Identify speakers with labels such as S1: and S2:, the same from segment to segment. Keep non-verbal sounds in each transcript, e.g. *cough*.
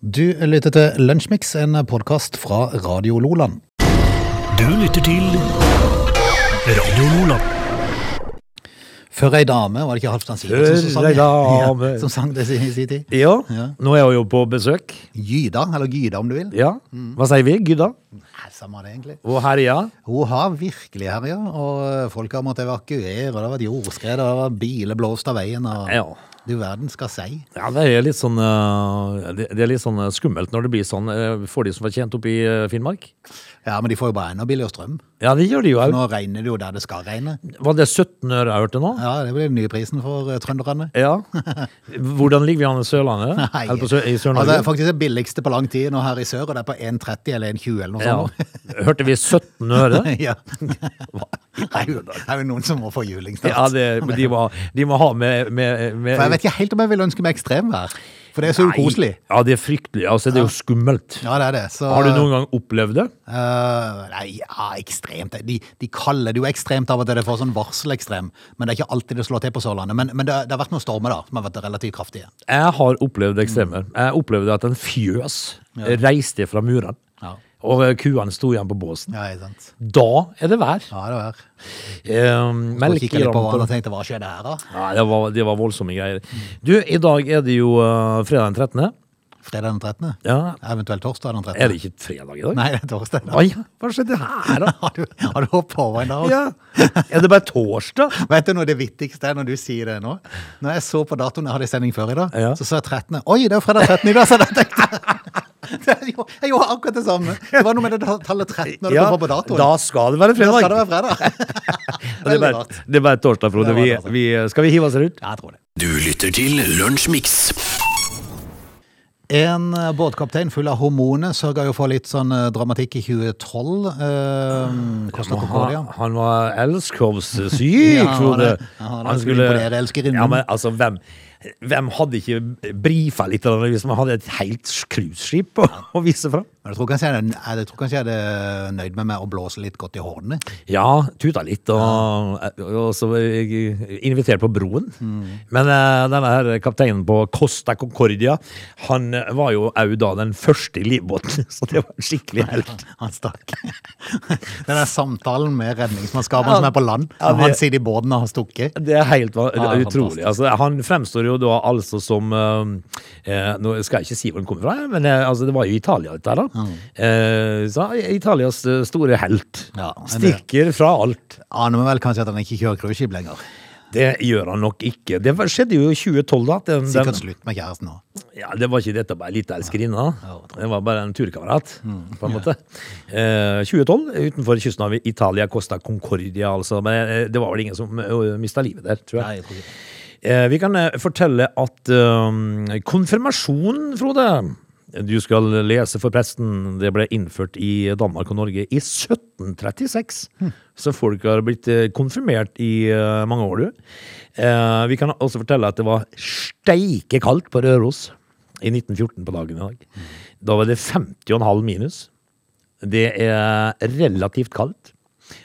S1: Du lytter til Lunsjmix, en podkast fra Radio Loland.
S2: Du lytter til Radio Lola.
S1: Før ei dame, var det ikke Halvdan Sivertsen som sang
S3: Før ei
S1: det? *laughs*
S3: dame.
S1: Ja, som sang det i sin sin tid?
S3: Ja,
S1: Ja.
S3: nå er hun jo på besøk.
S1: Gyda, eller Gyda om du vil.
S3: Ja,
S1: Mm.
S3: Hva sier vi? Gudda?
S1: Nei, Samme det, egentlig.
S3: Og herja?
S1: Hun har virkelig herja, og folk har måttet evakuere, og det har vært jordskred, og det har vært biler blåst av veien, og
S3: Ja.
S1: du verden skal si.
S3: ja, det er litt sånn eh, Det det er litt sånn eh, skummelt når det blir sånn eh, for de som var tjent opp i eh, Finnmark.
S1: Ja, men de får jo bare enda billigere strøm.
S3: Ja, det gjør de jo òg.
S1: Nå regner det jo der det skal regne.
S3: Var det 17 øre jeg hørte nå?
S1: Ja, det blir den nye prisen for eh, trønderne.
S3: Ja.
S1: *laughs*
S3: Hvordan ligger vi an i Sørlandet?
S1: Nei.
S3: Eller på
S1: Altså,
S3: Sør i
S1: det er
S3: Sør-Norge?
S1: faktisk det billigste på lang tid nå her i sør, og det er på 1,30 eller 1,20 eller noe
S3: Ja.
S1: sånt.
S3: Hørte vi 17
S1: *laughs*
S3: øre?
S1: Ja. Det er jo- det er jo noen som må få juling snart.
S3: Ja, det, men de, må, de må ha med, med, med
S1: For jeg vet ikke helt om jeg vil ønske meg ekstremvær. For det er så
S3: Nei.
S1: ukoselig.
S3: Ja, det er fryktelig. Altså, det er jo skummelt.
S1: Ja, det er det. Så,
S3: Har du noen gang opplevd det?
S1: Eh, nei, ja, ekstremt. De, de kaller det jo ekstremt av og til. Det får sånn varselekstrem. Men det er ikke alltid det slår til på Sørlandet. Men, men det, det har vært noen stormer da, som har vært relativt kraftige.
S3: Jeg har opplevd ekstremer.
S1: Mm.
S3: Jeg opplevde at en fjøs reiste fra muren.
S1: Ja.
S3: Og eh, kuene sto igjen på båsen.
S1: Ja, ikke sant.
S3: Da er det vær.
S1: Ja, det var
S3: Eh,
S1: Og
S3: melk i
S1: kikket litt på hverandre Mm. og
S3: rampen.
S1: tenkte, hva skjedde her da?
S3: Nei, det var, det var voldsomme greier. Du, i dag er det jo eh, fredag den 13.
S1: Fredag den 13.
S3: Ja.
S1: Eventuelt torsdag den 13.
S3: Er det ikke fredag i dag?
S1: Nei, det er torsdag. da.
S3: Oi, hva skjedde her,
S1: *laughs*
S3: da?
S1: Har du, har du hoppet over en dag?
S3: Ja. Er det bare torsdag?
S1: *laughs* Vet du noe det vittigste er når du sier det nå? Når jeg så på datoen jeg hadde i sending før i dag,
S3: Ja.
S1: så så jeg 13. Oi, det er jo fredag 13 i dag, så jeg tenkte Det er jo- *laughs* Jeg gjorde akkurat det samme. Det var noe med det tallet 13 når det
S3: Ja,
S1: kom på datoen.
S3: da skal det være
S1: Da skal
S3: fredag.
S1: det være
S3: *laughs*
S1: fredag.
S3: Det
S1: *laughs*
S3: er
S1: Veldig
S3: bare,
S1: rart.
S3: det er bare torsdag, Frode.
S1: Det altså. var
S3: Vi,
S1: torsdag.
S3: vi, skal vi hive oss rundt?
S1: Ja, jeg tror det.
S2: Du lytter til Lunsjmix.
S1: En eh, båtkaptein full av hormoner sørga jo for litt sånn eh, dramatikk i 2012.
S3: Ah,
S1: Eh, Costa Concordia.
S3: Han, han var *laughs* elskovssyk,
S1: Ja, han var
S3: Frode.
S1: det. Ja, han var imponert elskerinnen.
S3: Ja, men altså, hvem, hvem hadde ikke brifa litt eller annet hvis man hadde et helt cruiseskip å, å vise fra?
S1: Men jeg tror kanskje jeg, er- jeg tror kanskje jeg er nøyd med meg å blåse litt godt i hårene.
S3: Ja, tuta litt, og, og så invitert på broen. Men eh, denne her kapteinen på Costa Concordia, han var jo òg da den første i livbåten, *laughs* så det var en skikkelig helt.
S1: Han stakk. *laughs* Den der samtalen med redningsmannskapene
S3: Ja.
S1: som er på land,
S3: Ja,
S1: når
S3: det-
S1: han sitter i båten og har stukket.
S3: Det er helt va-
S1: Ja, det er
S3: utrolig.
S1: fantastisk.
S3: Altså, han fremstår jo da altså som eh, eh, Nå skal jeg ikke si hvor han kommer fra, men eh, altså, det var jo Italia, dette her, da. Eh, så Italias eh, store helt.
S1: Ja, men det-
S3: Stikker fra alt.
S1: Aner vi vel kanskje at han ikke kjører cruiseskip lenger.
S3: Det gjør han nok ikke. Det var- skjedde jo i 2012, da. at Den,
S1: Sikkert
S3: den,
S1: slutt med kjæresten nå.
S3: ja, det var ikke dette bare ei lita elskerinne. Det var bare en turkamerat,
S1: Mm.
S3: på en måte. Eh, 2012, utenfor kysten av Italia, Costa Concordia, altså. Men eh, det var vel ingen som mista livet der, tror jeg.
S1: Nei, jeg tror ikke.
S3: Eh, vi kan eh, fortelle at eh, konfirmasjonen, Frode du skal lese for presten. Det ble innført i Danmark og Norge i 1736. Så folk har blitt eh, konfirmert i eh, mange år, du. Eh, vi kan også fortelle at det var steike kaldt på Røros i 1914 på dagen i dag. Da var det 50,5 minus. Det er relativt kaldt.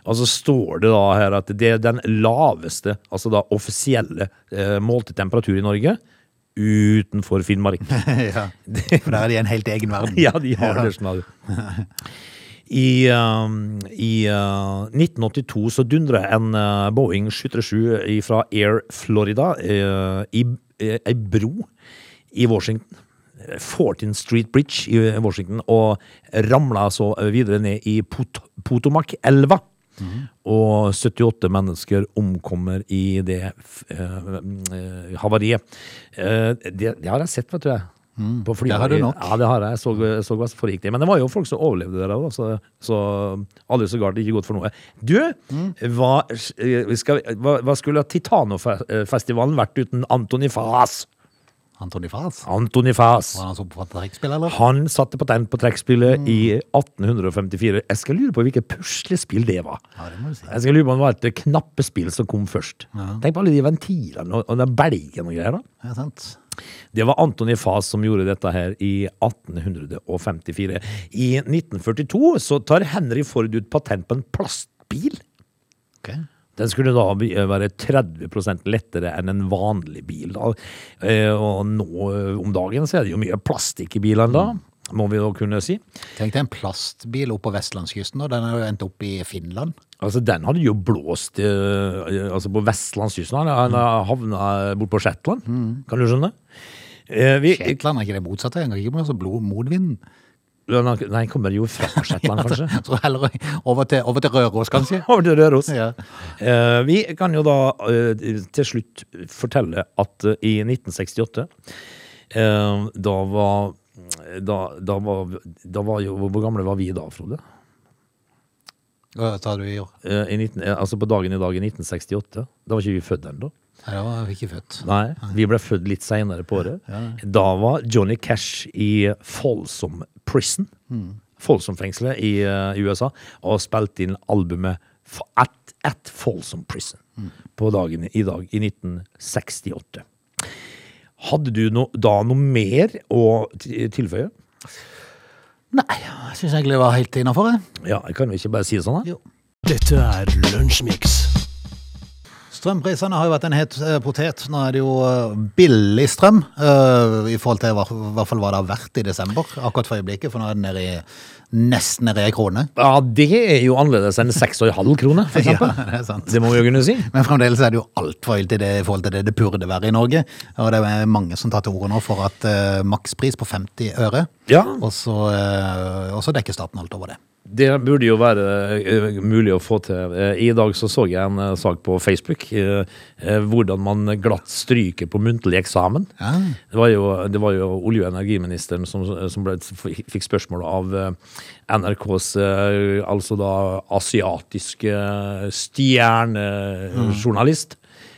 S3: Og så står det da her at det er den laveste, altså da offisielle, eh, målte temperatur i Norge utenfor Finnmark.
S1: *laughs* ja. For der er de i en helt egen verden.
S3: ja, de har det sånn. I, um, i uh, 1982 så dundrer en uh, Boeing 737 fra Air Florida eh, i eh, ei bro i Washington. 14th Street Bridge i Washington, og ramla så videre ned i Pot Potomac-elva.
S1: Mhm.
S3: Og 78 mennesker omkommer i det f- eh, eh, havariet. Eh, det, det har jeg sett, vet du. jeg. På flyet.
S1: Mm. det har du nok.
S3: Ja, det har jeg. Jeg så, jeg så hva som foregikk det. Men det var jo folk som overlevde det der òg, så, så aldri så galt. Ikke godt for noe. Du, hva, eh, skal, hva, hva skulle Titanofestivalen vært uten Antoni Fas?
S1: Antony Fars.
S3: Antoni Fas!
S1: Var han som på trekkspill, eller?
S3: Han satte patent på trekkspillet i 1854. Jeg skal lure på hvilket puslespill det var.
S1: Ja, det må du si.
S3: Jeg skal lure på om det var et knappespill som kom først. Tenk på alle de ventilene og, og den belgen og greier. da.
S1: Ja, sant.
S3: Det var Antoni Fas som gjorde dette her i 1854. I 1942 så tar Henry Ford ut patent på en plastbil.
S1: Ok.
S3: Den skulle da bli- være 30 lettere enn en vanlig bil. Da. Eh, Og nå eh, om dagen så er det jo mye plastikk i bilene, da, må vi da kunne si.
S1: Tenk deg en plastbil opp på vestlandskysten, og den har jo endt opp i Finland.
S3: Altså, den hadde jo blåst eh, altså på vestlandskysten. Han han havna eh, bort på Shetland. Kan du skjønne? Eh, vi,
S1: Shetland er ikke det motsatte, engang ikke med blod mot vinden.
S3: nei, kommer jo fra
S1: *laughs*
S3: Shetland, kanskje.
S1: Så heller over til, over til Røros, kanskje.
S3: Over til Røros.
S1: Ja.
S3: Eh, vi kan jo da eh, til slutt fortelle at eh, i 1968, eh, da var da, da, var, da var jo Hvor gamle var vi da, Frode?
S1: Hva tar du i år?
S3: Eh, i 19, eh, altså på dagen i dag i 1968. Da var ikke vi født ennå.
S1: Nei, da var vi ikke født.
S3: Nei, vi ble født litt seinere på året. Da var Johnny Cash i Folsom Prison, Folsom-fengselet i eh, USA, og spilte inn albumet F- At, At Folsom Prison på dagen i dag, i 1968. Hadde du no, da noe mer å ti- tilføye?
S1: Nei, jeg syns egentlig det var helt innafor.
S3: Ja, kan vi ikke bare si det sånn? da?
S2: Dette er Lunsjmix.
S1: Strømprisene har jo vært en het eh, potet. Nå er det jo eh, billig strøm eh, i forhold til hva- i hvert fall hva det har vært i desember, akkurat for øyeblikket, for nå er den nede i, nesten nede i ei krone.
S3: Ja, det er jo annerledes enn 6,5 kroner, *laughs* for
S1: Ja,
S3: eksempel.
S1: det er sant.
S3: Det må vi jo kunne si.
S1: Men fremdeles er det jo altfor ille til det i forhold til det det burde være i Norge. Og det er mange som tar til orde nå for at eh, makspris på 50 øre,
S3: Ja.
S1: og så, eh, og så dekker staten alt over det.
S3: Det burde jo være eh, mulig å få til. Eh, I dag så, så jeg en eh, sak på Facebook. eh, eh, Hvordan man glatt stryker på muntlig eksamen.
S1: Ja.
S3: Det, var jo, det var jo olje- og energiministeren som, som ble, fikk spørsmål av eh, NRKs eh, altså da asiatiske stjernejournalist.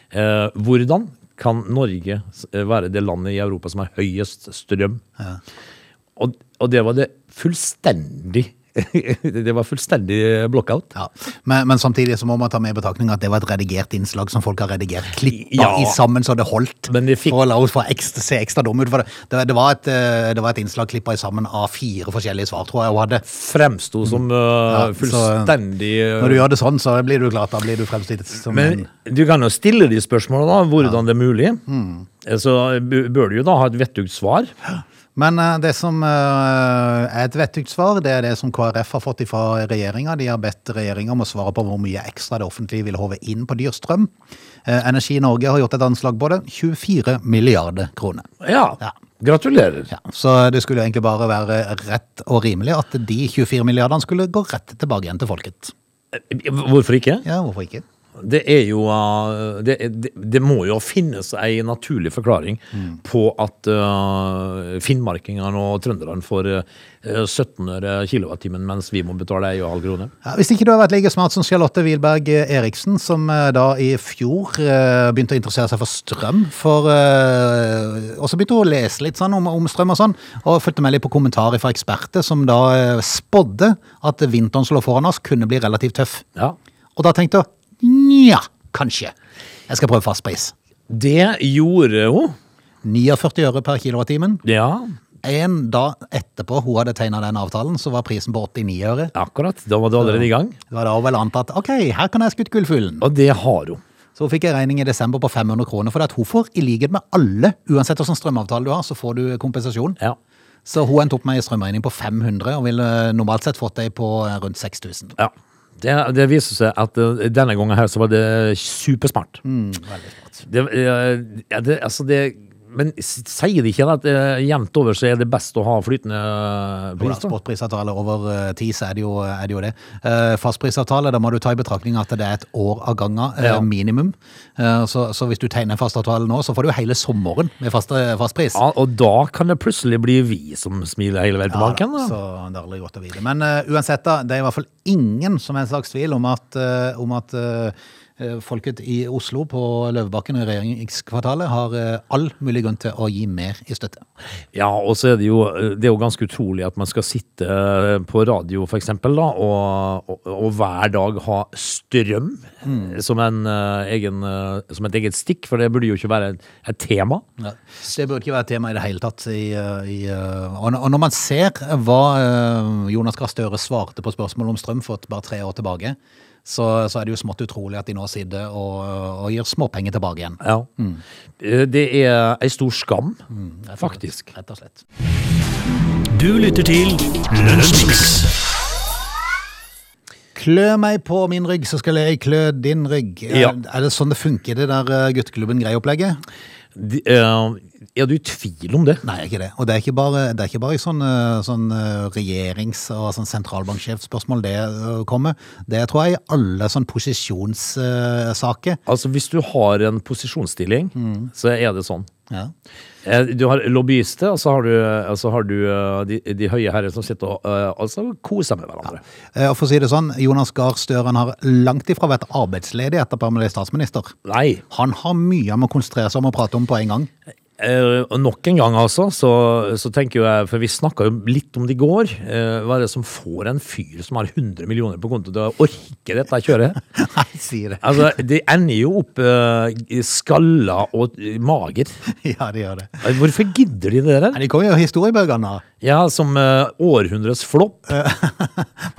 S3: Eh, Hvordan kan Norge s- eh, være det landet i Europa som har høyest strøm? Og, og det var det fullstendig *laughs* Det var fullstendig blockout.
S1: Ja. Men, men samtidig så må man ta med i betraktning at det var et redigert innslag som folk har redigert klippa
S3: Ja.
S1: i sammen så det holdt.
S3: Men det fikk-
S1: For å la oss få ekstra, se ekstra dum ut. For det, det, det, var et, eh, det var et innslag klippa i sammen av fire forskjellige svar, tror jeg hun hadde.
S3: Fremsto som øh,
S1: Ja, så- eh,
S3: fullstendig øh,
S1: Når du gjør det sånn, så blir du klart, da blir du fremstilt som
S3: Men
S1: en
S3: du kan jo stille de spørsmålene, da, hvordan det er mulig.
S1: Mm.
S3: Eh, Så b- bør du jo da ha et vettugt svar.
S1: Men eh, det som eh, er et vettugt svar, det er det som KrF har fått fra regjeringa. De har bedt regjeringa om å svare på hvor mye ekstra det offentlige vil håve inn på dyr strøm. Eh, Energi Norge har gjort et anslag på det. 24 milliarder kroner.
S3: Ja.
S1: Ja.
S3: Gratulerer.
S1: Ja, Så det skulle jo egentlig bare være rett og rimelig at de 24 milliardene skulle gå rett tilbake igjen til folket.
S3: Eh, Hvorfor ikke?
S1: Ja, hvorfor ikke?
S3: Det er jo eh, det, det, det må jo finnes ei naturlig forklaring
S1: Mm.
S3: på at eh, finnmarkingene og trønderne får uh, 17 øre kilowattimen, mens vi må betale 1,5 krone.
S1: Ja, hvis ikke du har vært like smart som Charlotte Wilberg Eriksen, som eh, da i fjor eh, begynte å interessere seg for strøm, for, eh, og så begynte hun å lese litt sånn om, om strøm og sånn, og fulgte med litt på kommentarer fra eksperter som da eh, spådde at vinteren som lå foran oss kunne bli relativt tøff.
S3: Ja.
S1: Og da tenkte hun, nja, kanskje. Jeg skal prøve fastpris.
S3: Det gjorde hun.
S1: 49 øre per kilowattimen.
S3: Ja,
S1: En dag etterpå hun hadde tegna den avtalen, så var prisen på 89 øre.
S3: akkurat. Da var du allerede i gang.
S1: Det var da hun vel antatt ok, her kan jeg skutt gullfuglen.
S3: Og det har hun.
S1: Så hun fikk en regning i desember på 500 kroner, for at hun får, i likhet med alle, uansett hvilken strømavtale du har, så får du kompensasjon.
S3: Ja.
S1: Så hun endte opp med en strømregning på 500, og ville normalt sett fått det på eh, rundt 6000.
S3: ja. Det, det viser seg at eh, denne gangen her så var det supersmart.
S1: Mm,
S3: Det, eh, ja, det, altså det, men s- sier de ikke at eh, jevnt over så er det best å ha flytende eh,
S1: Jo da,
S3: pris? da?
S1: Sportprisavtale over eh, tid, så er det jo, er det, jo det. Eh, Fastprisavtale, da må du ta i betraktning at det er et år av gangen, eh,
S3: Ja.
S1: minimum. Eh, Så, så hvis du tegner en fastavtale nå, så får du jo hele sommeren med fast, eh, fastpris.
S3: Ja, og da kan det plutselig bli vi som smiler hele veien på banken.
S1: Ja da,
S3: Da.
S1: Så det er aldri godt å vite. Men eh, uansett, da, det er i hvert fall ingen som helst slags tvil om at, eh, om at eh, eh, folket i Oslo på Løvebakken og i regjeringskvartalet har eh, all mulig grunn til å gi mer i støtte.
S3: Ja, og så er det jo, eh, det er jo ganske utrolig at man skal sitte eh, på radio for eksempel da, og, og, og hver dag ha strøm
S1: Mm.
S3: som, en, eh, egen, eh, som et eget stikk, for det burde jo ikke være et, et tema.
S1: Det burde ikke være et tema i det hele tatt. I, eh, i, eh, og og når man ser hva eh, Jonas Gahr Støre svarte på spørsmål om strøm for et- bare tre år tilbake, så, så er det jo smått utrolig at de nå sitter og, og gir småpenger tilbake igjen.
S3: Ja. Eh, Det er ei stor skam, Mm, faktisk.
S1: Rett og slett.
S2: Du lytter til Lunsjmix.
S1: Klø meg på min rygg, så skal jeg klø din rygg. Er-
S3: Ja.
S1: Er det sånn det funker, det der eh, gutteklubben-greiopplegget?
S3: De, eh, er du i tvil om det?
S1: Nei, ikke det. Og det er ikke bare, det er ikke bare i sånn, eh, sånn eh, regjerings- og sånn sentralbanksjefspørsmål det eh, kommer. Det tror jeg i alle sånn eh, posisjonssaker.
S3: Altså, Hvis du har en posisjonsstilling, så er det sånn.
S1: Ja.
S3: Eh, Du har lobbyister, og så har du, og så har du eh, de, de høye herrer som sitter og eh, altså, koser med hverandre.
S1: Eh, Og for å si det sånn, Jonas Gahr Støre han har langt ifra vært arbeidsledig etter at han ble statsminister.
S3: Nei.
S1: Han har mye han må konsentrere seg om å prate om på en gang. *laughs*
S3: Eh, og nok en gang, altså, så, så tenker jo jeg, for vi snakka jo litt om det i går. Eh, hva er det som får en fyr som har 100 millioner på konto til å orke dette kjøret?
S1: Nei, si det.
S3: Altså, det ender jo opp eh, i skalla og eh, mager.
S1: Ja, de gjør det.
S3: Eh, Hvorfor gidder de det der?
S1: Men de kommer jo i historiebøkene. da.
S3: Ja, som eh, århundrets flopp.
S1: Eh.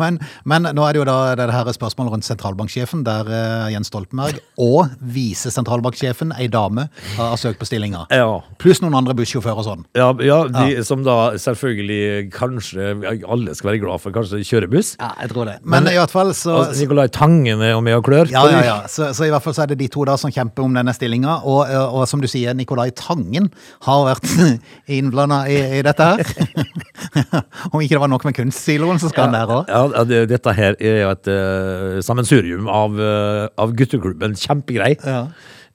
S1: Men, men nå er det jo da det her spørsmålet rundt sentralbanksjefen, der eh, Jens Stoltenberg og visesentralbanksjefen, ei dame, har har søkt på stillinga.
S3: Ja.
S1: Pluss noen andre bussjåfører og sånn.
S3: Ja, ja, de som da selvfølgelig kanskje alle skal være glad for kanskje kjører buss.
S1: Ja, jeg tror det. Men, i hvert fall så...
S3: Altså, Nicolai Tangen er jo med og klør.
S1: Ja, ja, ja. Så, så i hvert fall så er det de to da som kjemper om denne stillinga. Og, eh, og som du sier, Nicolai Tangen har vært *laughs* innblanda i, i dette her. *laughs* om ikke det var nok med kunstsiloen, så skal han der òg.
S3: Ja, ja, det, dette her er jo et eh, sammensurium av, eh, av gutteklubben. Kjempegrei.
S1: Ja.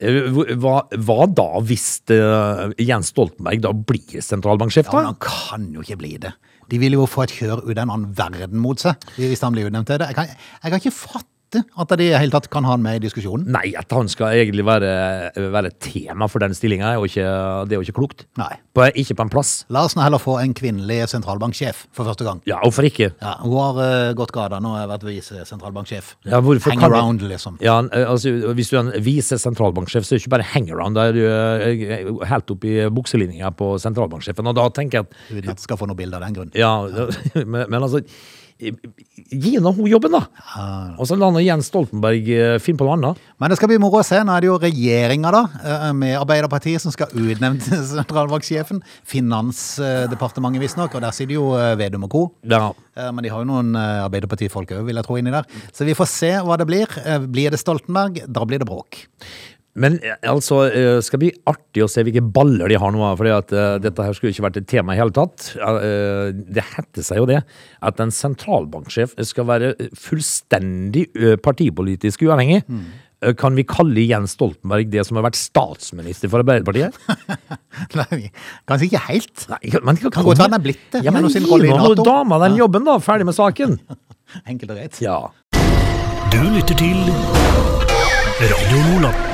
S3: Eh, hvor- Hva, hva da hvis eh, Jens Stoltenberg da blir sentralbanksjef,
S1: Ja, men
S3: da?
S1: han kan jo ikke bli det. De vil jo få et kjør ut av en annen verden mot seg, hvis han blir utnevnt til det. Jeg kan, jeg kan ikke fatte at de i det hele tatt kan ha han med i diskusjonen.
S3: Nei, at han skal egentlig være, være tema for den stillinga, det er jo ikke klokt.
S1: Nei.
S3: På, ikke på en plass.
S1: La oss nå heller få en kvinnelig sentralbanksjef for første gang.
S3: Ja, hvorfor ikke?
S1: Ja, hun har eh, gått gata nå, har jeg vært visesentralbanksjef.
S3: Ja, hvorfor
S1: Hang
S3: kan du-
S1: around, liksom.
S3: Ja, eh, altså, hvis du er en vise sentralbanksjef, så er det ikke bare hangaround. Da er du eh, helt opp i bukselinja på sentralbanksjefen. Og da tenker jeg at
S1: Hun vil at jeg skal få noe bilde av den grunn.
S3: Ja, *laughs* men, men altså eh, Gi nå hun jobben, da! Og så la nå Jens Stoltenberg eh, finne på noe annet.
S1: Men det skal bli moro å se. Nå er det jo regjeringa, da, eh, med Arbeiderpartiet, som skal utnevne *laughs* sentralbanksjefen. Finansdepartementet, visstnok, og der sitter jo eh, Vedum og co.
S3: Ja.
S1: Eh, Men de har jo noen eh, Arbeiderpartifolk òg, vil jeg tro, inni der. Så vi får se hva det blir. Eh, Blir det Stoltenberg, da blir det bråk. *laughs*
S3: Men eh, altså, eh, skal bli artig å se hvilke baller de har nå. For dette her skulle ikke vært et tema i hele tatt. Eh, eh, Det heter seg jo det. At en sentralbanksjef skal være eh, fullstendig eh, partipolitisk uavhengig.
S1: Mm.
S3: Eh, Kan vi kalle Jens Stoltenberg det som har vært statsminister for
S1: *laughs*
S3: Arbeiderpartiet?
S1: Nei, Kanskje ikke helt.
S3: Nei, man kan
S1: godt være han er blitt det,
S3: Ja, men
S1: gjennom sin
S3: gi
S1: rolle i
S3: nå
S1: NATO.
S3: dama den jobben, da. Ferdig med
S1: *laughs*
S3: saken.
S1: Enkelt og greit.
S3: Ja.
S2: Du lytter til Radio Nordland.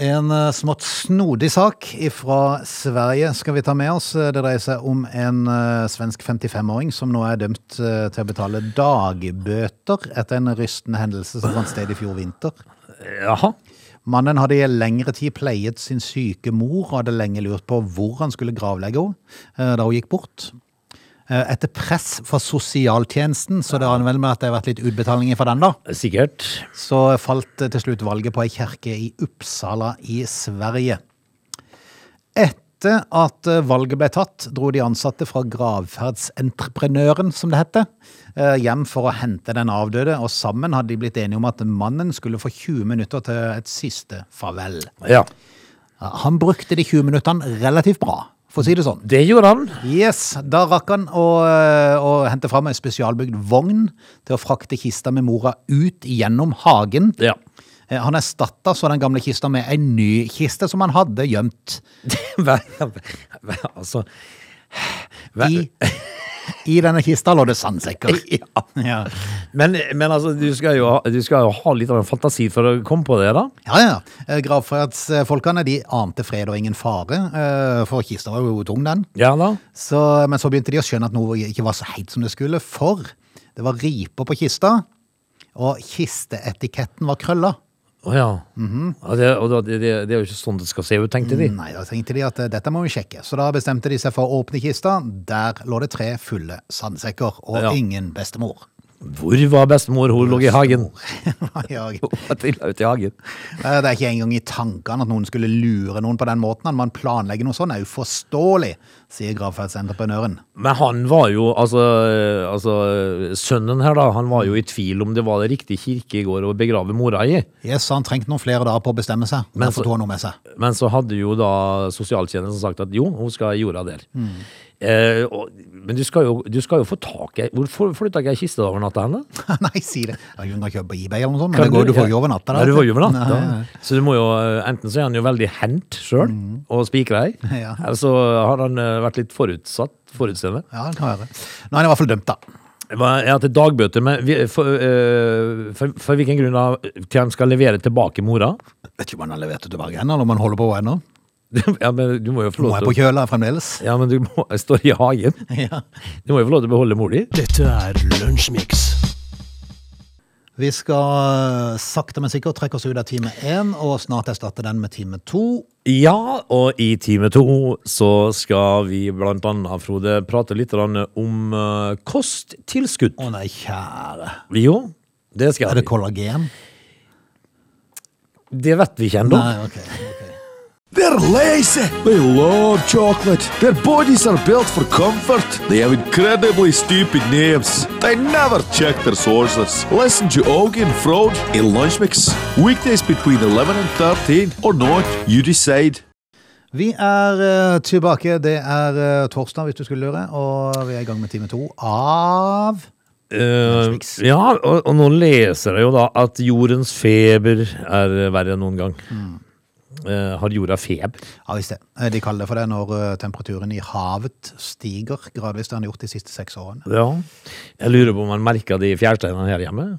S1: En eh, smått snodig sak fra Sverige skal vi ta med oss. Eh, Det dreier seg om en eh, svensk 55-åring som nå er dømt eh, til å betale dagbøter etter en rystende hendelse som fant sted i fjor vinter.
S3: Jaha.
S1: Mannen hadde i lengre tid pleiet sin syke mor og hadde lenge lurt på hvor han skulle gravlegge henne eh, da hun gikk bort. Eh, Etter press fra sosialtjenesten, så det aner vel med at det har vært litt utbetalinger fra den, da,
S3: Sikkert.
S1: så falt eh, til slutt valget på ei kirke i Uppsala i Sverige. Etter at eh, valget ble tatt, dro de ansatte fra gravferdsentreprenøren, som det heter, eh, hjem for å hente den avdøde, og sammen hadde de blitt enige om at mannen skulle få 20 minutter til et siste farvel.
S3: Ja.
S1: Ja, Han brukte de 20 minuttene relativt bra, for å si det sånn.
S3: Det gjorde han.
S1: Yes, da rakk han å, eh, å hente fram ei spesialbygd vogn til å frakte kista med mora ut gjennom hagen.
S3: Ja. *laughs*
S1: Eh, Han erstatta så den gamle kista med en ny kiste som han hadde gjemt
S3: Hva- hva- altså hva-
S1: i. I denne kista lå det sandsekker.
S3: *laughs* ja.
S1: Ja,
S3: Men, men altså, du skal, jo, ha- du skal jo ha litt av en fantasi for å komme på det, da.
S1: ja. ja. Eh, Gravferdsfolkene de ante fred og ingen fare, eh, for kista var jo tung, den.
S3: Ja da.
S1: Så, men så begynte de å skjønne at noe ikke var så helt som det skulle, for det var riper på kista, og kisteetiketten var krølla.
S3: Å ja. Ja, det, og da- det, det, det er jo ikke sånn det skal se ut, tenkte de.
S1: Nei, da tenkte de at eh, dette må vi sjekke. Så da bestemte de seg for å åpne kista. Der lå det tre fulle sandsekker, og
S3: Ja.
S1: ingen bestemor.
S3: Hvor var bestemor? Hun lå i hagen. *laughs*
S1: *laughs* Ja, gitt.
S3: Hun var trilla ut i hagen.
S1: Eh, Det er ikke engang i tankene at noen skulle lure noen på den måten. At man planlegger noe sånt, er uforståelig, sier gravferdsentreprenøren.
S3: Men han var jo, altså, altså Sønnen her, da, han var jo i tvil om det var det riktig kirke i går å begrave mora i.
S1: Yes, han trengte noen flere dager på å bestemme seg.
S3: Men
S1: Men så
S3: så-
S1: tok han noe med seg. *laughs*
S3: Men så hadde jo da sosialtjenesten sagt at jo, hun skal i jorda der. Eh, og, men du skal, jo, du skal jo få tak i Hvor flytta ikke ei kiste over natta henne?
S1: Nei, si det. Jeg kunne ikke kjøpe på eBay eller noe sånt, men det går, du får jo over natta. da,
S3: Ja, du får jo over
S1: vet du.
S3: natta.
S1: Ja, ja, ja.
S3: Så du må jo, eh, enten så er han jo veldig hendt sjøl og spikra ei,
S1: Mm. *laughs* Ja.
S3: eller så har han eh, vært litt forutsatt, forutseende.
S1: Ja, det kan være. Nå er han i hvert fall dømt, da.
S3: Hva- Ja, til dagbøter, men vi- for, eh, for, for hvilken grunn da? Til han skal levere tilbake mora? *laughs*
S1: Vet ikke om han har levert det tilbake ennå, eller om han holder på ennå.
S3: ja, men du må jo få
S1: Nå
S3: lov
S1: er
S3: til
S1: på
S3: å
S1: kjøla fremdeles. *laughs*
S3: Ja, men du må, jeg står i hagen.
S1: Ja.
S3: Du må jo få lov til å beholde mor di.
S2: Dette er Lunsjmix.
S1: Vi skal eh, sakte, men sikkert trekke oss ut av time én, og snart erstatte den med time to.
S3: Ja, og i time to så skal vi blant annet, Frode, prate litt grann om eh, kosttilskudd.
S1: Å nei, kjære.
S3: Jo, det skal
S1: Er det
S3: vi.
S1: kollagen?
S3: Det vet vi ikke ennå.
S1: Nei, ok. ok.
S4: They're lazy. They love chocolate. Their bodies are built for comfort. They have incredibly stupid names. They never check their sources. Listen to Augie and Frode in Lunch Mix. Weekdays between 11 and 13 or not, you decide.
S1: Vi er eh, tilbake. Det er eh, torsdag, hvis du skulle lure, og vi er i gang med time to av
S3: Eh,
S1: Netflix.
S3: ja, og, og nå leser jeg jo da at jordens feber er verre enn noen gang.
S1: Mm.
S3: Eh, har jorda feber?
S1: Ja, visst det. Eh, De kaller det for det når eh, temperaturen i havet stiger gradvis. Det har den gjort de siste seks årene.
S3: Ja. Jeg lurer på om man merker det i fjærsteinene her hjemme?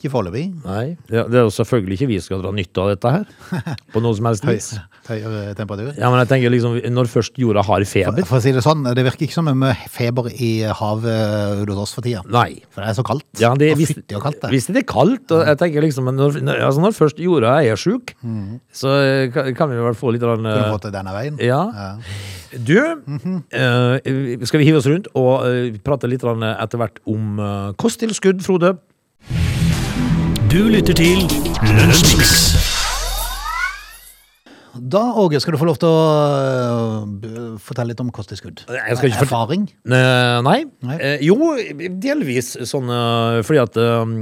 S1: Ikke foreløpig.
S3: Nei. Det, det er jo selvfølgelig ikke vi skal dra nytte av dette
S1: *laughs*
S3: her. På noe som helst
S1: Høy,
S3: vis.
S1: høyere temperatur.
S3: Ja, men jeg tenker liksom, når først jorda har feber
S1: For å si det sånn, det virker ikke som om feber i havet eh, hos oss for tida.
S3: Nei.
S1: For det er så kaldt.
S3: Ja, det,
S1: og
S3: hvis,
S1: fytti og kaldt det.
S3: hvis det er kaldt, og jeg tenker liksom men når, når- altså når først jorda er sjuk,
S1: Mm.
S3: så eh, kan, kan vi vel få litt grann,
S1: Kunne
S3: eh,
S1: fått det denne veien.
S3: Ja. Du, eh, skal vi hive oss rundt og eh, prate litt grann etter hvert om eh, kosttilskudd, Frode?
S2: Du lytter til Lunsjmix.
S1: Da, Åge, skal du få lov til å øh, b- fortelle litt om kosttilskudd.
S3: Jeg skal ikke fort-
S1: Erfaring.
S3: Eh, nei.
S1: Nei.
S3: Eh, jo, delvis sånn eh, fordi at eh,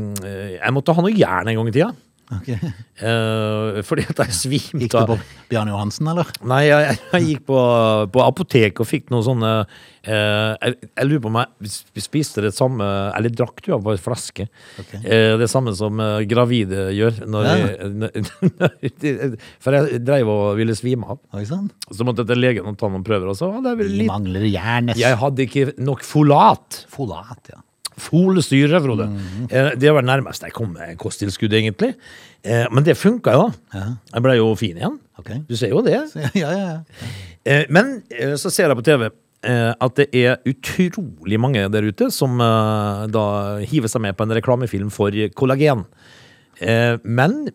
S3: jeg måtte ha noe jern en gang i tida.
S1: Ok.
S3: Eh, fordi at jeg
S1: Gikk
S3: svimte
S1: du
S3: av.
S1: på Bjarne Johansen, eller?
S3: Nei, jeg, jeg gikk på, på apotek og fikk noen sånne eh, jeg, jeg lurer på om jeg sp- spiste det samme Eller drakk du av en flaske?
S1: Ok.
S3: Eh, det samme som eh, gravide gjør. Når *laughs* jeg, for jeg dreiv og ville svime av.
S1: Oi sann.
S3: Så måtte jeg til legen og ta noen prøver. Og så hadde jeg, vel
S1: Vi
S3: litt,
S1: mangler jern. ass.
S3: jeg hadde ikke nok folat.
S1: Folat, ja. *laughs*
S3: Folsyre, Frode.
S1: Mhm.
S3: Eh, Det var det nærmeste jeg kom med kosttilskudd, egentlig. Eh, Men det funka jo. Jeg ble jo fin igjen.
S1: Ok.
S3: Du ser jo det.
S1: Ja, ja, ja.
S3: Eh, Men eh, så ser jeg på TV eh, at det er utrolig mange der ute som eh, da hiver seg med på en reklamefilm for kollagen. Eh, Men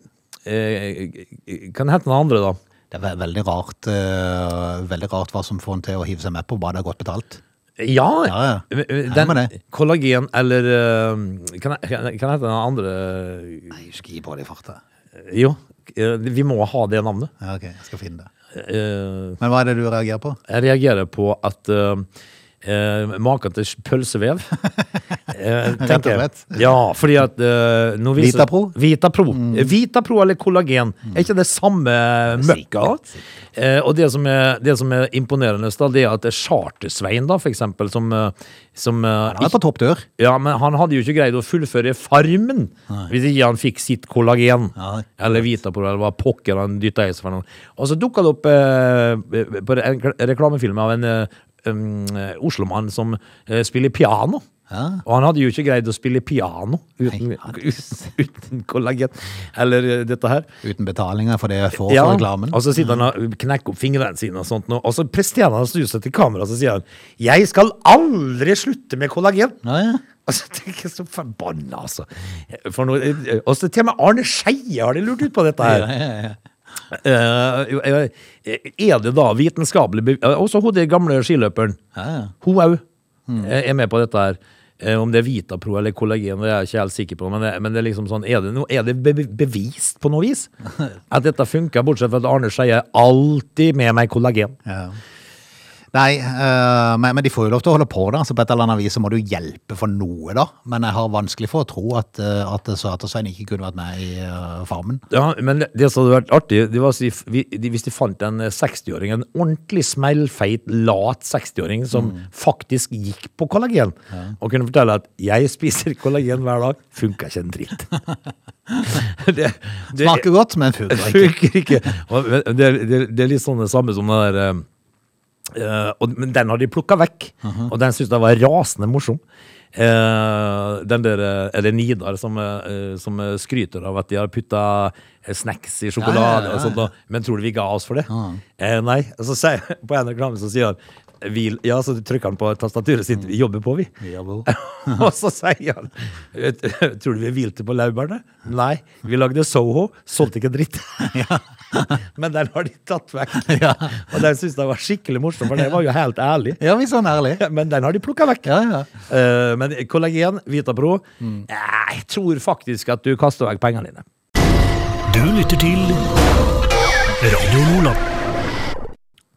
S3: eh, kan det hete noen andre, da?
S1: Det er ve- veldig rart, øh, veldig rart hva som får en til å hive seg med på hva det er godt betalt.
S3: Ja,
S1: Ja, ja.
S3: eh, eh,
S1: Her
S3: Den,
S1: med det.
S3: kollagen eller eh, Kan det kan det hete noen andre
S1: Nei, skri på det i farta.
S3: Jo, eh, vi må ha det navnet.
S1: Ja, ok, jeg skal finne det.
S3: Eh,
S1: Men hva er det du reagerer på?
S3: Jeg reagerer på at uh, uh, maken til
S1: *laughs*
S3: pølsevev eh, tenker jeg.
S1: slett.
S3: Ja, fordi at eh, nå viser,
S1: Vitapro? Mm.
S3: Vitapro. Vitapro eller kollagen. Er ikke det samme møkka? Eh, og det som, er, det som er imponerende, da, det er at det er Charter-Svein, da, for eksempel, som, eh, som eh,
S1: Han er på topp dør.
S3: ja, men han hadde jo ikke greid å fullføre Farmen hvis ikke han fikk sitt kollagen.
S1: Nei.
S3: Eller Vitapro, eller hva pokker han dytta i seg for noe. Og så dukka det opp eh, på en reklamefilm av en eh, um, eh, Oslomann som eh, spiller piano.
S1: Ja.
S3: Og han hadde jo ikke greid å spille piano uten,
S1: Nei, han-
S3: uten, uten kollagen. Eller eh, dette her.
S1: Uten betalinger for det jeg får for reklamen.
S3: Og så sitter han og knekker opp fingrene sine, og sånt nå, og så presterer han å snu seg til kamera og så sier han 'Jeg skal aldri slutte med kollagen'.
S1: Ja, ja.
S3: Altså, tenk så forbanna, altså. For noe, og så til og med Arne Skeie har de lurt ut på dette her.
S1: Ja, ja, ja.
S3: Eh, jo, eh, er det da vitenskapelig bev- eh, Også hun den gamle skiløperen.
S1: Ja, Hmm. ja.
S3: Hun òg er med på dette her. Eh, Om det er Vitapro eller kollagen, det er jeg ikke helt sikker på. Men det, men det er liksom sånn, er det, no, er det be bevist på noe
S1: *laughs*
S3: vis at dette funker, bortsett fra at Arne Skeie er alltid med meg kollagen?
S1: Ja. Nei, eh, men, men de får jo lov til å holde på, da. Så på et eller annet vis så må du hjelpe for noe, da. Men jeg har vanskelig for å tro at, eh, at Svein ikke kunne vært med i eh, Farmen.
S3: Ja, men det- det som hadde vært artig, det var å si, f- vi- de- hvis de fant en eh, 60-åring, en ordentlig smellfeit, lat 60-åring som faktisk gikk på kollagen, og kunne fortelle at 'jeg spiser kollagen hver dag', funka ikke en dritt. *laughs* det, det,
S1: Smaker godt, men funker
S3: Det
S1: ikke.
S3: funker ikke. Og Det er, det, er- det er litt sånn det samme som det der eh, eh, og, Men den har de plukka vekk,
S1: Mhm.
S3: og den syns jeg var rasende morsom. Eh, den der eh, Er det Nidar som, eh, som eh, skryter av at de har putta snacks i sjokolade
S1: Ja, ja, ja,
S3: og sånt, og, men tror du vi ga oss for det? Eh, nei. Så sier, *laughs* på en reklame så sier han vi, ja, så trykker han på tastaturet
S1: Mm.
S3: sitt. Vi jobber på, vi. *laughs* og så sier han *laughs* Tror du vi hvilte på laurbærene? Nei. Vi lagde Soho, solgte ikke en dritt. *laughs* Men den har de tatt vekk.
S1: *laughs*
S3: Og den syns jeg var skikkelig morsom, for den var jo helt ærlig. *laughs*
S1: Ja, vi er sånn ærlige.
S3: Men den har de plukka vekk.
S1: Ja, Mm. ja.
S3: Eh, men kollagen, Vitapro eh, Jeg tror faktisk at du kaster vekk pengene dine.
S2: Du lytter til Radio Nordland.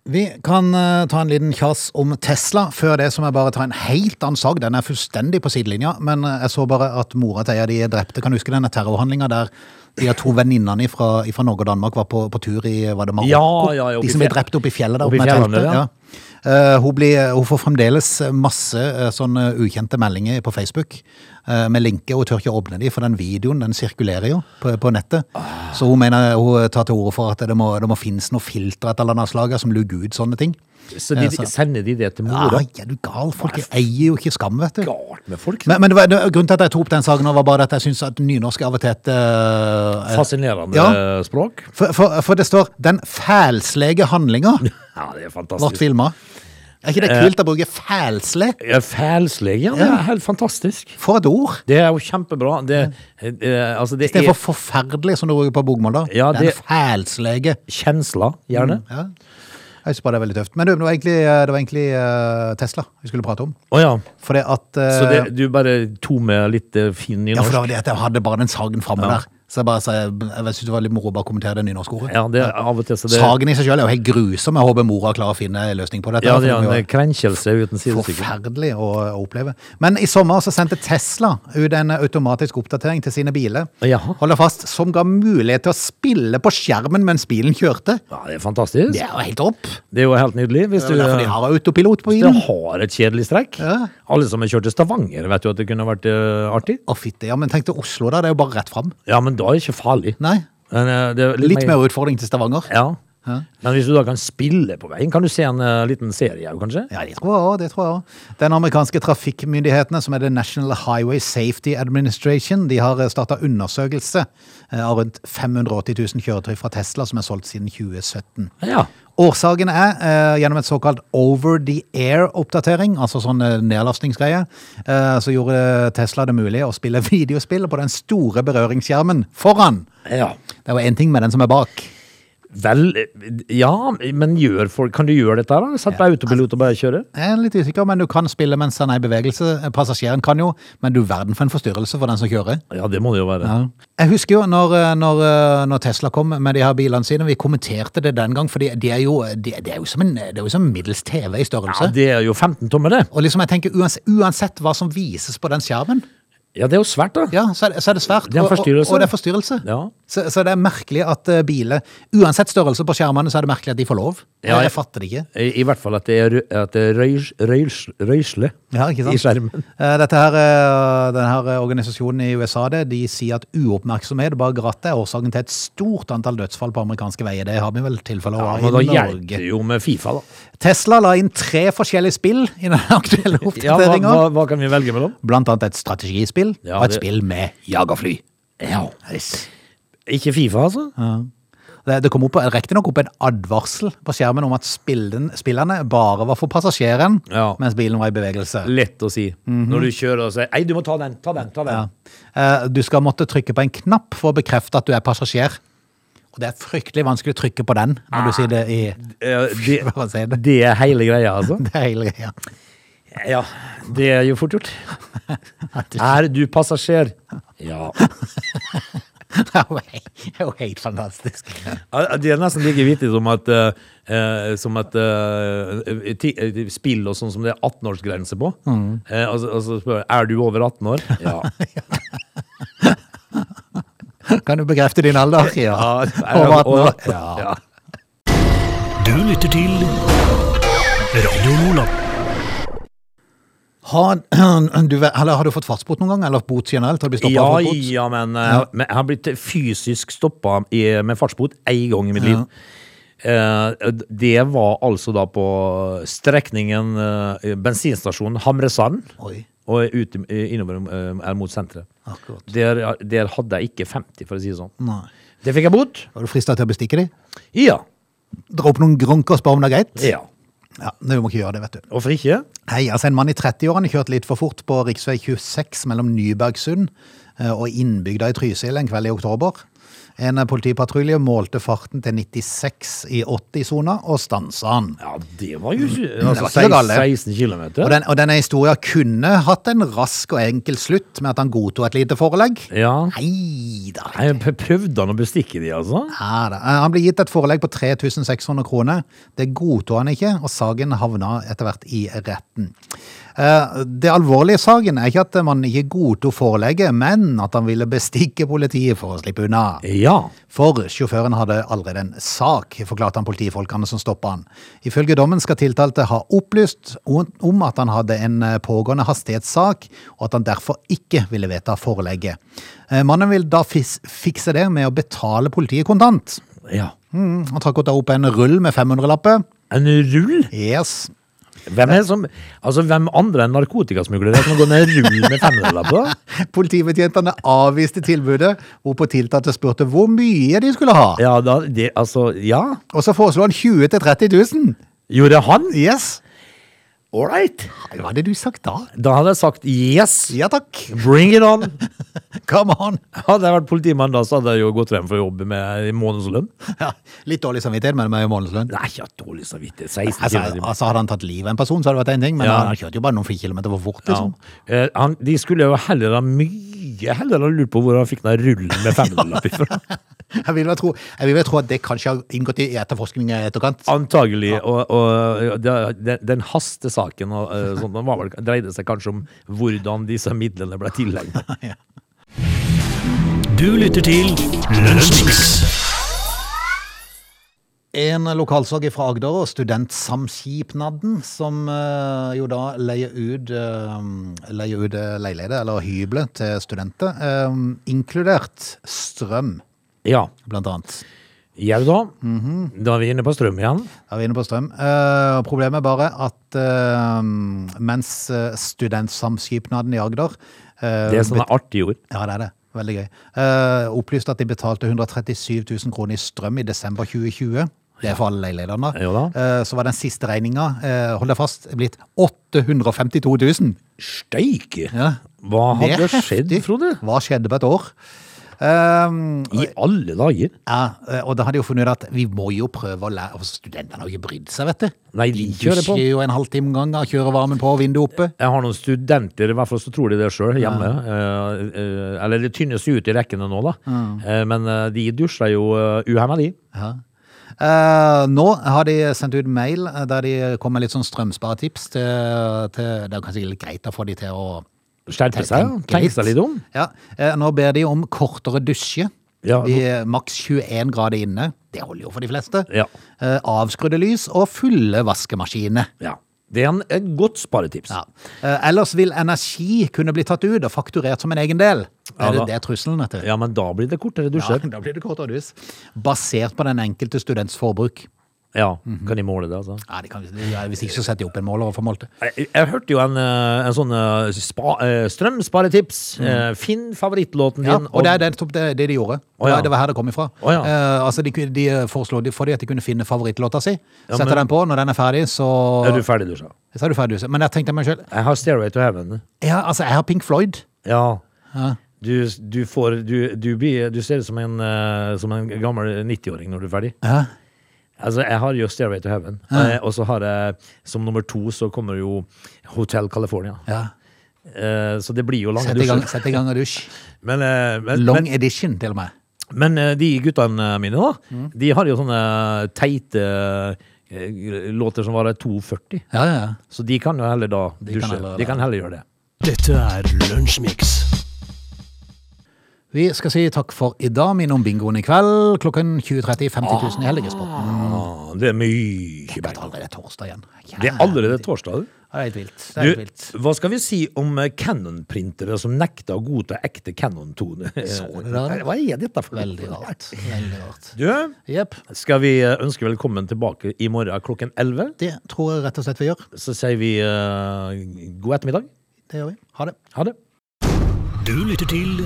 S1: Vi kan eh, ta en liten kjas om Tesla. Før det så må jeg bare ta en helt annen sag. Den er fullstendig på sidelinja, men eh, jeg så bare at mora til en av de drepte Kan du huske denne terrorhandlinga der de her to venninnene fra, Norge og Danmark var på, på tur i var det Marokko?
S3: Ja, ja, ja, oppe
S1: de
S3: i
S1: som ble
S3: fjell-
S1: drept oppe i fjellet der
S3: oppe i
S1: oppe med
S3: fjellene,
S1: teltet.
S3: ja.
S1: Ja. Eh, hun, blir, hun får fremdeles masse eh, sånne ukjente meldinger på Facebook eh, med linker. Hun tør ikke åpne de, for den videoen den sirkulerer jo på, på nettet. Så hun mener hun tar til orde for at det må, det må finnes noe filter et eller annet slag som luger ut sånne ting.
S3: Så de,
S1: Ja, sant.
S3: sender de det til
S1: Ja,
S3: mora.
S1: ja, du gal. Folk eier jo ikke skam, vet du.
S3: Galt med folk.
S1: Men, men det var, det, grunnen til at jeg tok opp den saken, nå var bare at jeg syns at nynorsk av og til er et eh,
S3: Fascinerende
S1: Ja.
S3: eh, språk.
S1: for, for, for det står 'den fælslege handlinga'
S3: Ja, det er
S1: ble
S3: fantastisk.
S1: filma. Er ikke det
S3: Eh,
S1: kult å bruke 'fælsle'?
S3: Ja, Fælslig, ja. Det er helt fantastisk.
S1: For et ord!
S3: Det er jo kjempebra. Det, eh, altså det
S1: Det er
S3: er
S1: for forferdelig, som du bruker på bokmål. da.
S3: Ja,
S1: Den
S3: det-
S1: fælslege. Mm,
S3: kjensler, gjerne.
S1: Ja. Jeg syns bare det er veldig tøft. Men du, det var egentlig, eh, det var egentlig eh, Tesla vi skulle prate om.
S3: Å ja.
S1: For det at eh,
S3: Så det, du bare tok med litt eh, fin
S1: Ja, for
S3: nynorsk?
S1: det var det at jeg hadde bare den sagen framme
S3: Ja.
S1: der. Så jeg bare sa, jeg, jeg synes det var litt moro å bare kommentere det nynorske ordet.
S3: Ja, det er av og til så det
S1: Sagen i seg selv er jo helt grusom. Jeg håper mora klarer å finne en løsning på dette.
S3: Ja,
S1: for
S3: det er
S1: må jo-
S3: en krenkelse uten sidestykke.
S1: Forferdelig å, å oppleve. Men i sommer så sendte Tesla ut en automatisk oppdatering til sine biler.
S3: Jaha.
S1: Hold deg fast, som ga mulighet til å spille på skjermen mens bilen kjørte.
S3: Ja, det er fantastisk.
S1: Det er jo helt opp.
S3: Det er jo helt nydelig. Hvis
S1: Det er
S3: du,
S1: jo derfor de
S3: eh, hvis
S1: har autopilot på
S3: du
S1: bilen.
S3: har et kjedelig strekk.
S1: Ja.
S3: Alle som har kjørt til Stavanger, vet jo at det kunne vært eh, artig.
S1: Å fitte, ja, men tenk til Oslo da, det er jo bare rett frem.
S3: Ja, men da er det ikke farlig.
S1: Nei,
S3: Men, eh, det er
S1: litt mer utfordring til Stavanger.
S3: Ja. Men hvis du da kan spille på veien, kan du se en eh, liten serie òg, kanskje?
S1: Ja, det tror jeg også, det tror jeg også. Den amerikanske trafikkmyndighetene, som er The National Highway Safety Administration, de har starta undersøkelse eh, av rundt 580 000 kjøretøy fra Tesla som er solgt siden 2017.
S3: Ja.
S1: Årsaken er eh, gjennom et såkalt over the air-oppdatering, altså sånn eh, nedlastningsgreie, eh, så gjorde Tesla det mulig å spille *laughs* videospill på den store berøringsskjermen foran.
S3: ja.
S1: Det var én ting med den som er bak.
S3: Vel, eh, ja, men gjør folk, kan du gjøre dette her da? Sett på autopilot og bare kjøre?
S1: Jeg er litt usikker, men du kan spille mens han er i bevegelse. Passasjeren kan jo, men du verden for en forstyrrelse for den som kjører.
S3: Ja, det må det jo være.
S1: Jeg husker jo når, eh, når, når Tesla kom med de her bilene sine, vi kommenterte det den gang, for det de er, jo- de, de er jo som en det er jo som middels TV i
S3: Ja,
S1: størrelse.
S3: det er jo 15 tommer, det.
S1: Og liksom jeg tenker, uansett, uansett hva som vises på den skjermen,
S3: Ja, det er jo svært, da.
S1: ja, så, er det, så er det svært.
S3: Det er en
S1: og-
S3: forstyrrelse.
S1: Og, og det er forstyrrelse.
S3: Ja.
S1: Så, så det er merkelig at eh, biler, uansett størrelse på skjermene, så er det merkelig at de får lov.
S3: Ja,
S1: jeg
S3: jeg-
S1: fatter det ikke.
S3: I, I hvert fall at det er, rø- at det er røys, røys, røysle
S1: Ja, ikke sant?
S3: i skjermen.
S1: Eh, Dette her, eh, denne her organisasjonen i USA det, de sier at uoppmerksomhet bak rattet er årsaken til et stort antall dødsfall på amerikanske veier. Det har vi vel tilfeller
S3: Ja,
S1: av
S3: men da
S1: i
S3: hjelper
S1: Norge.
S3: det jo med Fifa, da.
S1: Tesla la inn tre forskjellige spill i den *laughs* aktuelle
S3: Ja, hva,
S1: oppdateringa.
S3: hva, hva kan vi velge mellom?
S1: Blant annet et strategispill
S3: Ja,
S1: og et
S3: det-
S1: spill med jagerfly.
S3: Ja.
S1: Nice.
S3: Ikke Fifa, altså?
S1: Det det kom opp, riktignok opp en advarsel på skjermen om at spillen, spillene bare var for passasjeren
S3: Ja.
S1: mens bilen var i bevegelse.
S3: Lett å si. Når du kjører og sier 'ei, du må ta den, ta den', ta den.
S1: Mhm. Ja. Eh, Du skal måtte trykke på en knapp for å bekrefte at du er passasjer. Og det er fryktelig vanskelig å trykke på den
S3: Ah.
S1: når du sier det i *laughs*
S3: Eh, Det,
S1: Bare si det.
S3: det er hele greia, altså?
S1: Det er hele greia.
S3: Ja. Det er jo fort gjort. Er du passasjer? Ja.
S1: *laughs* Det er jo he- det er jo helt fantastisk.
S3: Ja, Det er nesten like vittig som at, eh, eh, som at eh, ti, eh, spill og sånn som det er 18-årsgrense på. Eh, altså, altså spør jeg, Er du over 18 år? Ja.
S1: Kan du bekrefte din alder?
S3: *laughs* *laughs* Ja,
S1: Ja.
S3: er jeg
S1: Over 18 år.
S3: over-
S1: Ja.
S3: ja.
S2: Du lytter til Radio Nordland.
S1: Har *clears throat* du, vært- eller har du fått fartsbot noen gang? Eller bot generelt? Har du blitt stoppet
S3: Ja,
S1: for bot?
S3: ja, men, eh, men jeg har blitt fysisk stoppa med fartsbot én gang i mitt liv. Eh, Det var altså da på strekningen eh, bensinstasjonen Hamresand
S1: Oi,
S3: og ut, eh, innover eh, eller mot senteret.
S1: akkurat.
S3: Der, der hadde jeg ikke 50, for å si det sånn.
S1: Nei.
S3: Det fikk jeg bot.
S1: Var du frista til å bestikke dem?
S3: Ja.
S1: Dra opp noen grunker og spørre om det er greit?
S3: ja.
S1: Ja, Du må ikke gjøre det, vet du.
S3: Hvorfor ikke?
S1: Hei, altså En mann i 30-årene kjørte litt for fort på rv. 26 mellom Nybergsund eh, og innbygda i Trysil en kveld i oktober. En eh, politipatrulje målte farten til 96 i 80-sona og stansa han.
S3: Ja, det var jo ikke-
S1: var
S3: altså,
S1: ikke så galt, det.
S3: 16 km.
S1: Og, den, og denne historien kunne hatt en rask og enkel slutt med at han godtok et lite forelegg.
S3: Ja.
S1: Nei da.
S3: Jeg p- prøvde han å bestikke de, altså?
S1: Ja, da. Eh, Han ble gitt et forelegg på 3600 kroner. Det godtok han ikke, og saken havna etter hvert i retten. Eh, Det alvorlige i saken er ikke at man ikke godtok forelegget, men at han ville bestikke politiet for å slippe unna.
S3: Ja.
S1: For sjåføren hadde allerede en sak, forklarte han politifolkene som stoppa han. Ifølge dommen skal tiltalte ha opplyst om at han hadde en eh, pågående hastighetssak, og at han derfor ikke ville vedta forelegget. Eh, Mannen vil da fis- fikse det med å betale politiet kontant.
S3: ja.
S1: Mm, han trakk da opp en rull med 500-lapper.
S3: En rull?
S1: Yes.
S3: Hvem, er det som, altså, hvem andre enn narkotikasmuglere kan gå ned en rull med 500 på?
S1: Politibetjentene avviste tilbudet, hvorpå tiltalte spurte hvor mye de skulle ha.
S3: Ja, da, det, altså, ja.
S1: Og så foreslo han 20 000 til 30 000.
S3: Gjorde han?
S1: Yes.
S3: All right.
S1: Hva hadde du sagt da?
S3: Da hadde jeg sagt yes.
S1: Ja takk.
S3: Bring it on.
S1: Come on!
S3: Hadde jeg vært politimann da, så hadde jeg jo gått hjem fra jobb med en månedslønn.
S1: Ja, litt dårlig samvittighet, men med månedslønn.
S3: Nei, jeg har dårlig samvittighet. 16
S1: Altså,
S3: timer.
S1: altså, hadde han tatt livet av en person, så hadde det vært en ting, men
S3: Ja.
S1: han kjørte jo bare noen få kilometer for fort.
S3: Ja.
S1: Liksom.
S3: Eh, han, de skulle jo heller ha mye heller ha lurt på hvor han fikk den rullen med 500-lapp *laughs* ifra.
S1: Jeg, vil vel tro, jeg vil vel tro at det kanskje har inngått i etterforskning i etterkant.
S3: Antagelig. Og, og det- den, den hastesaken og, eh, sånn, den var vel, dreide seg kanskje om hvordan disse midlene ble tilegnet.
S2: Du lytter til Lunsjmix.
S1: En lokalsorg fra Agder og Studentsamskipnaden, som eh, jo da leier ut, eh, leier ut eh, leiligheter eller hybler til studenter, eh, inkludert strøm,
S3: *laughs* Ja. Mhm.
S1: blant annet.
S3: Jau da. Da er vi inne på strøm igjen.
S1: Da er vi inne på strøm. Eh, problemet er bare at eh, mens eh, studentsamskipnaden i Agder eh,
S3: Det er sånn sånne artige ord.
S1: Ja, det er det. Veldig gøy. Eh, opplyste at de betalte 137 000 kroner i strøm i desember 2020. Det er for alle leilighetene.
S3: Ja da.
S1: Eh, så var den siste regninga, eh, hold deg fast, blitt 852 000.
S3: Steike!
S1: Ja.
S3: Hva
S1: Det er
S3: hadde skjedd,
S1: heftig.
S3: Frode?
S1: Hva skjedde på et år? Eh,
S3: I alle dager?
S1: Ja, eh, og da hadde jeg jo funnet ut at vi må jo prøve å lære og Studentene har jo ikke brydd seg, vet du.
S3: Nei, de kjører på.
S1: dusjer jo en halvtime en gang, har kjørevarmen på, vinduet oppe.
S3: Jeg har noen studenter, i hvert fall så tror de det sjøl, hjemme. Eh, eh, eller det tynnes jo ut i rekkene nå, da. Eh, men eh, de dusjer jo uh, uhemma, de.
S1: Ja. Eh, nå har de sendt ut mail eh, der de kom med litt sånn strømsparetips til, til Det er kanskje litt greit å få de til å
S3: Skjerpe seg,
S1: tenke
S3: tenke seg litt om.
S1: Ja, eh, Nå ber de om kortere dusje.
S3: Ja,
S1: de, maks 21 grader inne. Det holder jo for de fleste.
S3: Ja.
S1: Eh, avskrudde lys og fulle vaskemaskiner.
S3: Ja. Det er en, et godt sparetips.
S1: Ja. Eh, Ellers vil energi kunne bli tatt ut og fakturert som en egen del.
S3: Ja,
S1: Er det
S3: da-
S1: det trusselen heter?
S3: Ja, men da blir det kortere
S1: Ja, *laughs*
S3: dusjer.
S1: da blir det kortere dus. Basert på den enkelte students forbruk.
S3: Ja, Kan de måle det, altså?
S1: Ja, de kan, ja, hvis ikke så setter de opp en måler og får målt det.
S3: Jeg, jeg hørte jo en, eh, en sånn eh, spa, eh, strømsparetips. Eh, Finn favorittlåten din.
S1: Ja, og det er det, det, det de gjorde.
S3: Å, ja.
S1: Det var her det kom ifra.
S3: Å, ja.
S1: Eh, altså de, kunne- de foreslo de, for de at de kunne finne favorittlåta si. Sette
S3: men-
S1: den på, når den er ferdig, så,
S3: Er du ferdig dusja?
S1: så er du ferdig. duset. Men jeg tenkte meg sjøl
S3: Jeg har Stairway to Heaven.
S1: ja, altså, Jeg har Pink Floyd.
S3: Ja.
S1: Ja.
S3: Du, du, får, du, du, blir, du ser ut som en, eh, som en gammel 90-åring når du er ferdig.
S1: Ja.
S3: Altså, Jeg har jo 'Stairway to Heaven', eh, og så har jeg som nummer to så kommer jo 'Hotel California'.
S1: Ja.
S3: Eh, så det blir jo lange
S1: Sett i gang,
S3: dusjer.
S1: sett i gang og dusj.
S3: Men, eh, men,
S1: Long
S3: men,
S1: edition, til og med.
S3: men eh, de guttene mine, da,
S1: Mm.
S3: de har jo sånne teite eh, låter som varer 2,40.
S1: Ja, ja, ja.
S3: Så de kan jo heller da dusje.
S1: kan heller det.
S3: de kan heller gjøre det.
S2: Dette er Lunsjmix.
S1: Vi skal si takk for i dag. Minn om bingoen i kveld klokken 20.30. 50 000 i Helgesporten.
S3: Ah, det er mye
S1: Det
S3: bedre.
S1: er allerede torsdag igjen.
S3: Det er allerede torsdag. du.
S1: Ja, Det er helt vilt. Det er helt
S3: Du,
S1: vilt.
S3: hva skal vi si om eh, Canon-printere som nekter å godta ekte Canon-tone?
S1: Så det der?
S3: Hva er dette for noe?
S1: Veldig Eh, rart. Veldig rart.
S3: *laughs* Du,
S1: Jepp.
S3: skal vi eh, ønske velkommen tilbake i morgen klokken 11?
S1: Det tror jeg rett og slett vi gjør.
S3: Så sier vi eh, god ettermiddag.
S1: Det gjør vi. Ha det.
S3: Ha det.
S2: Du lytter til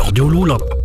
S2: Radio Lola.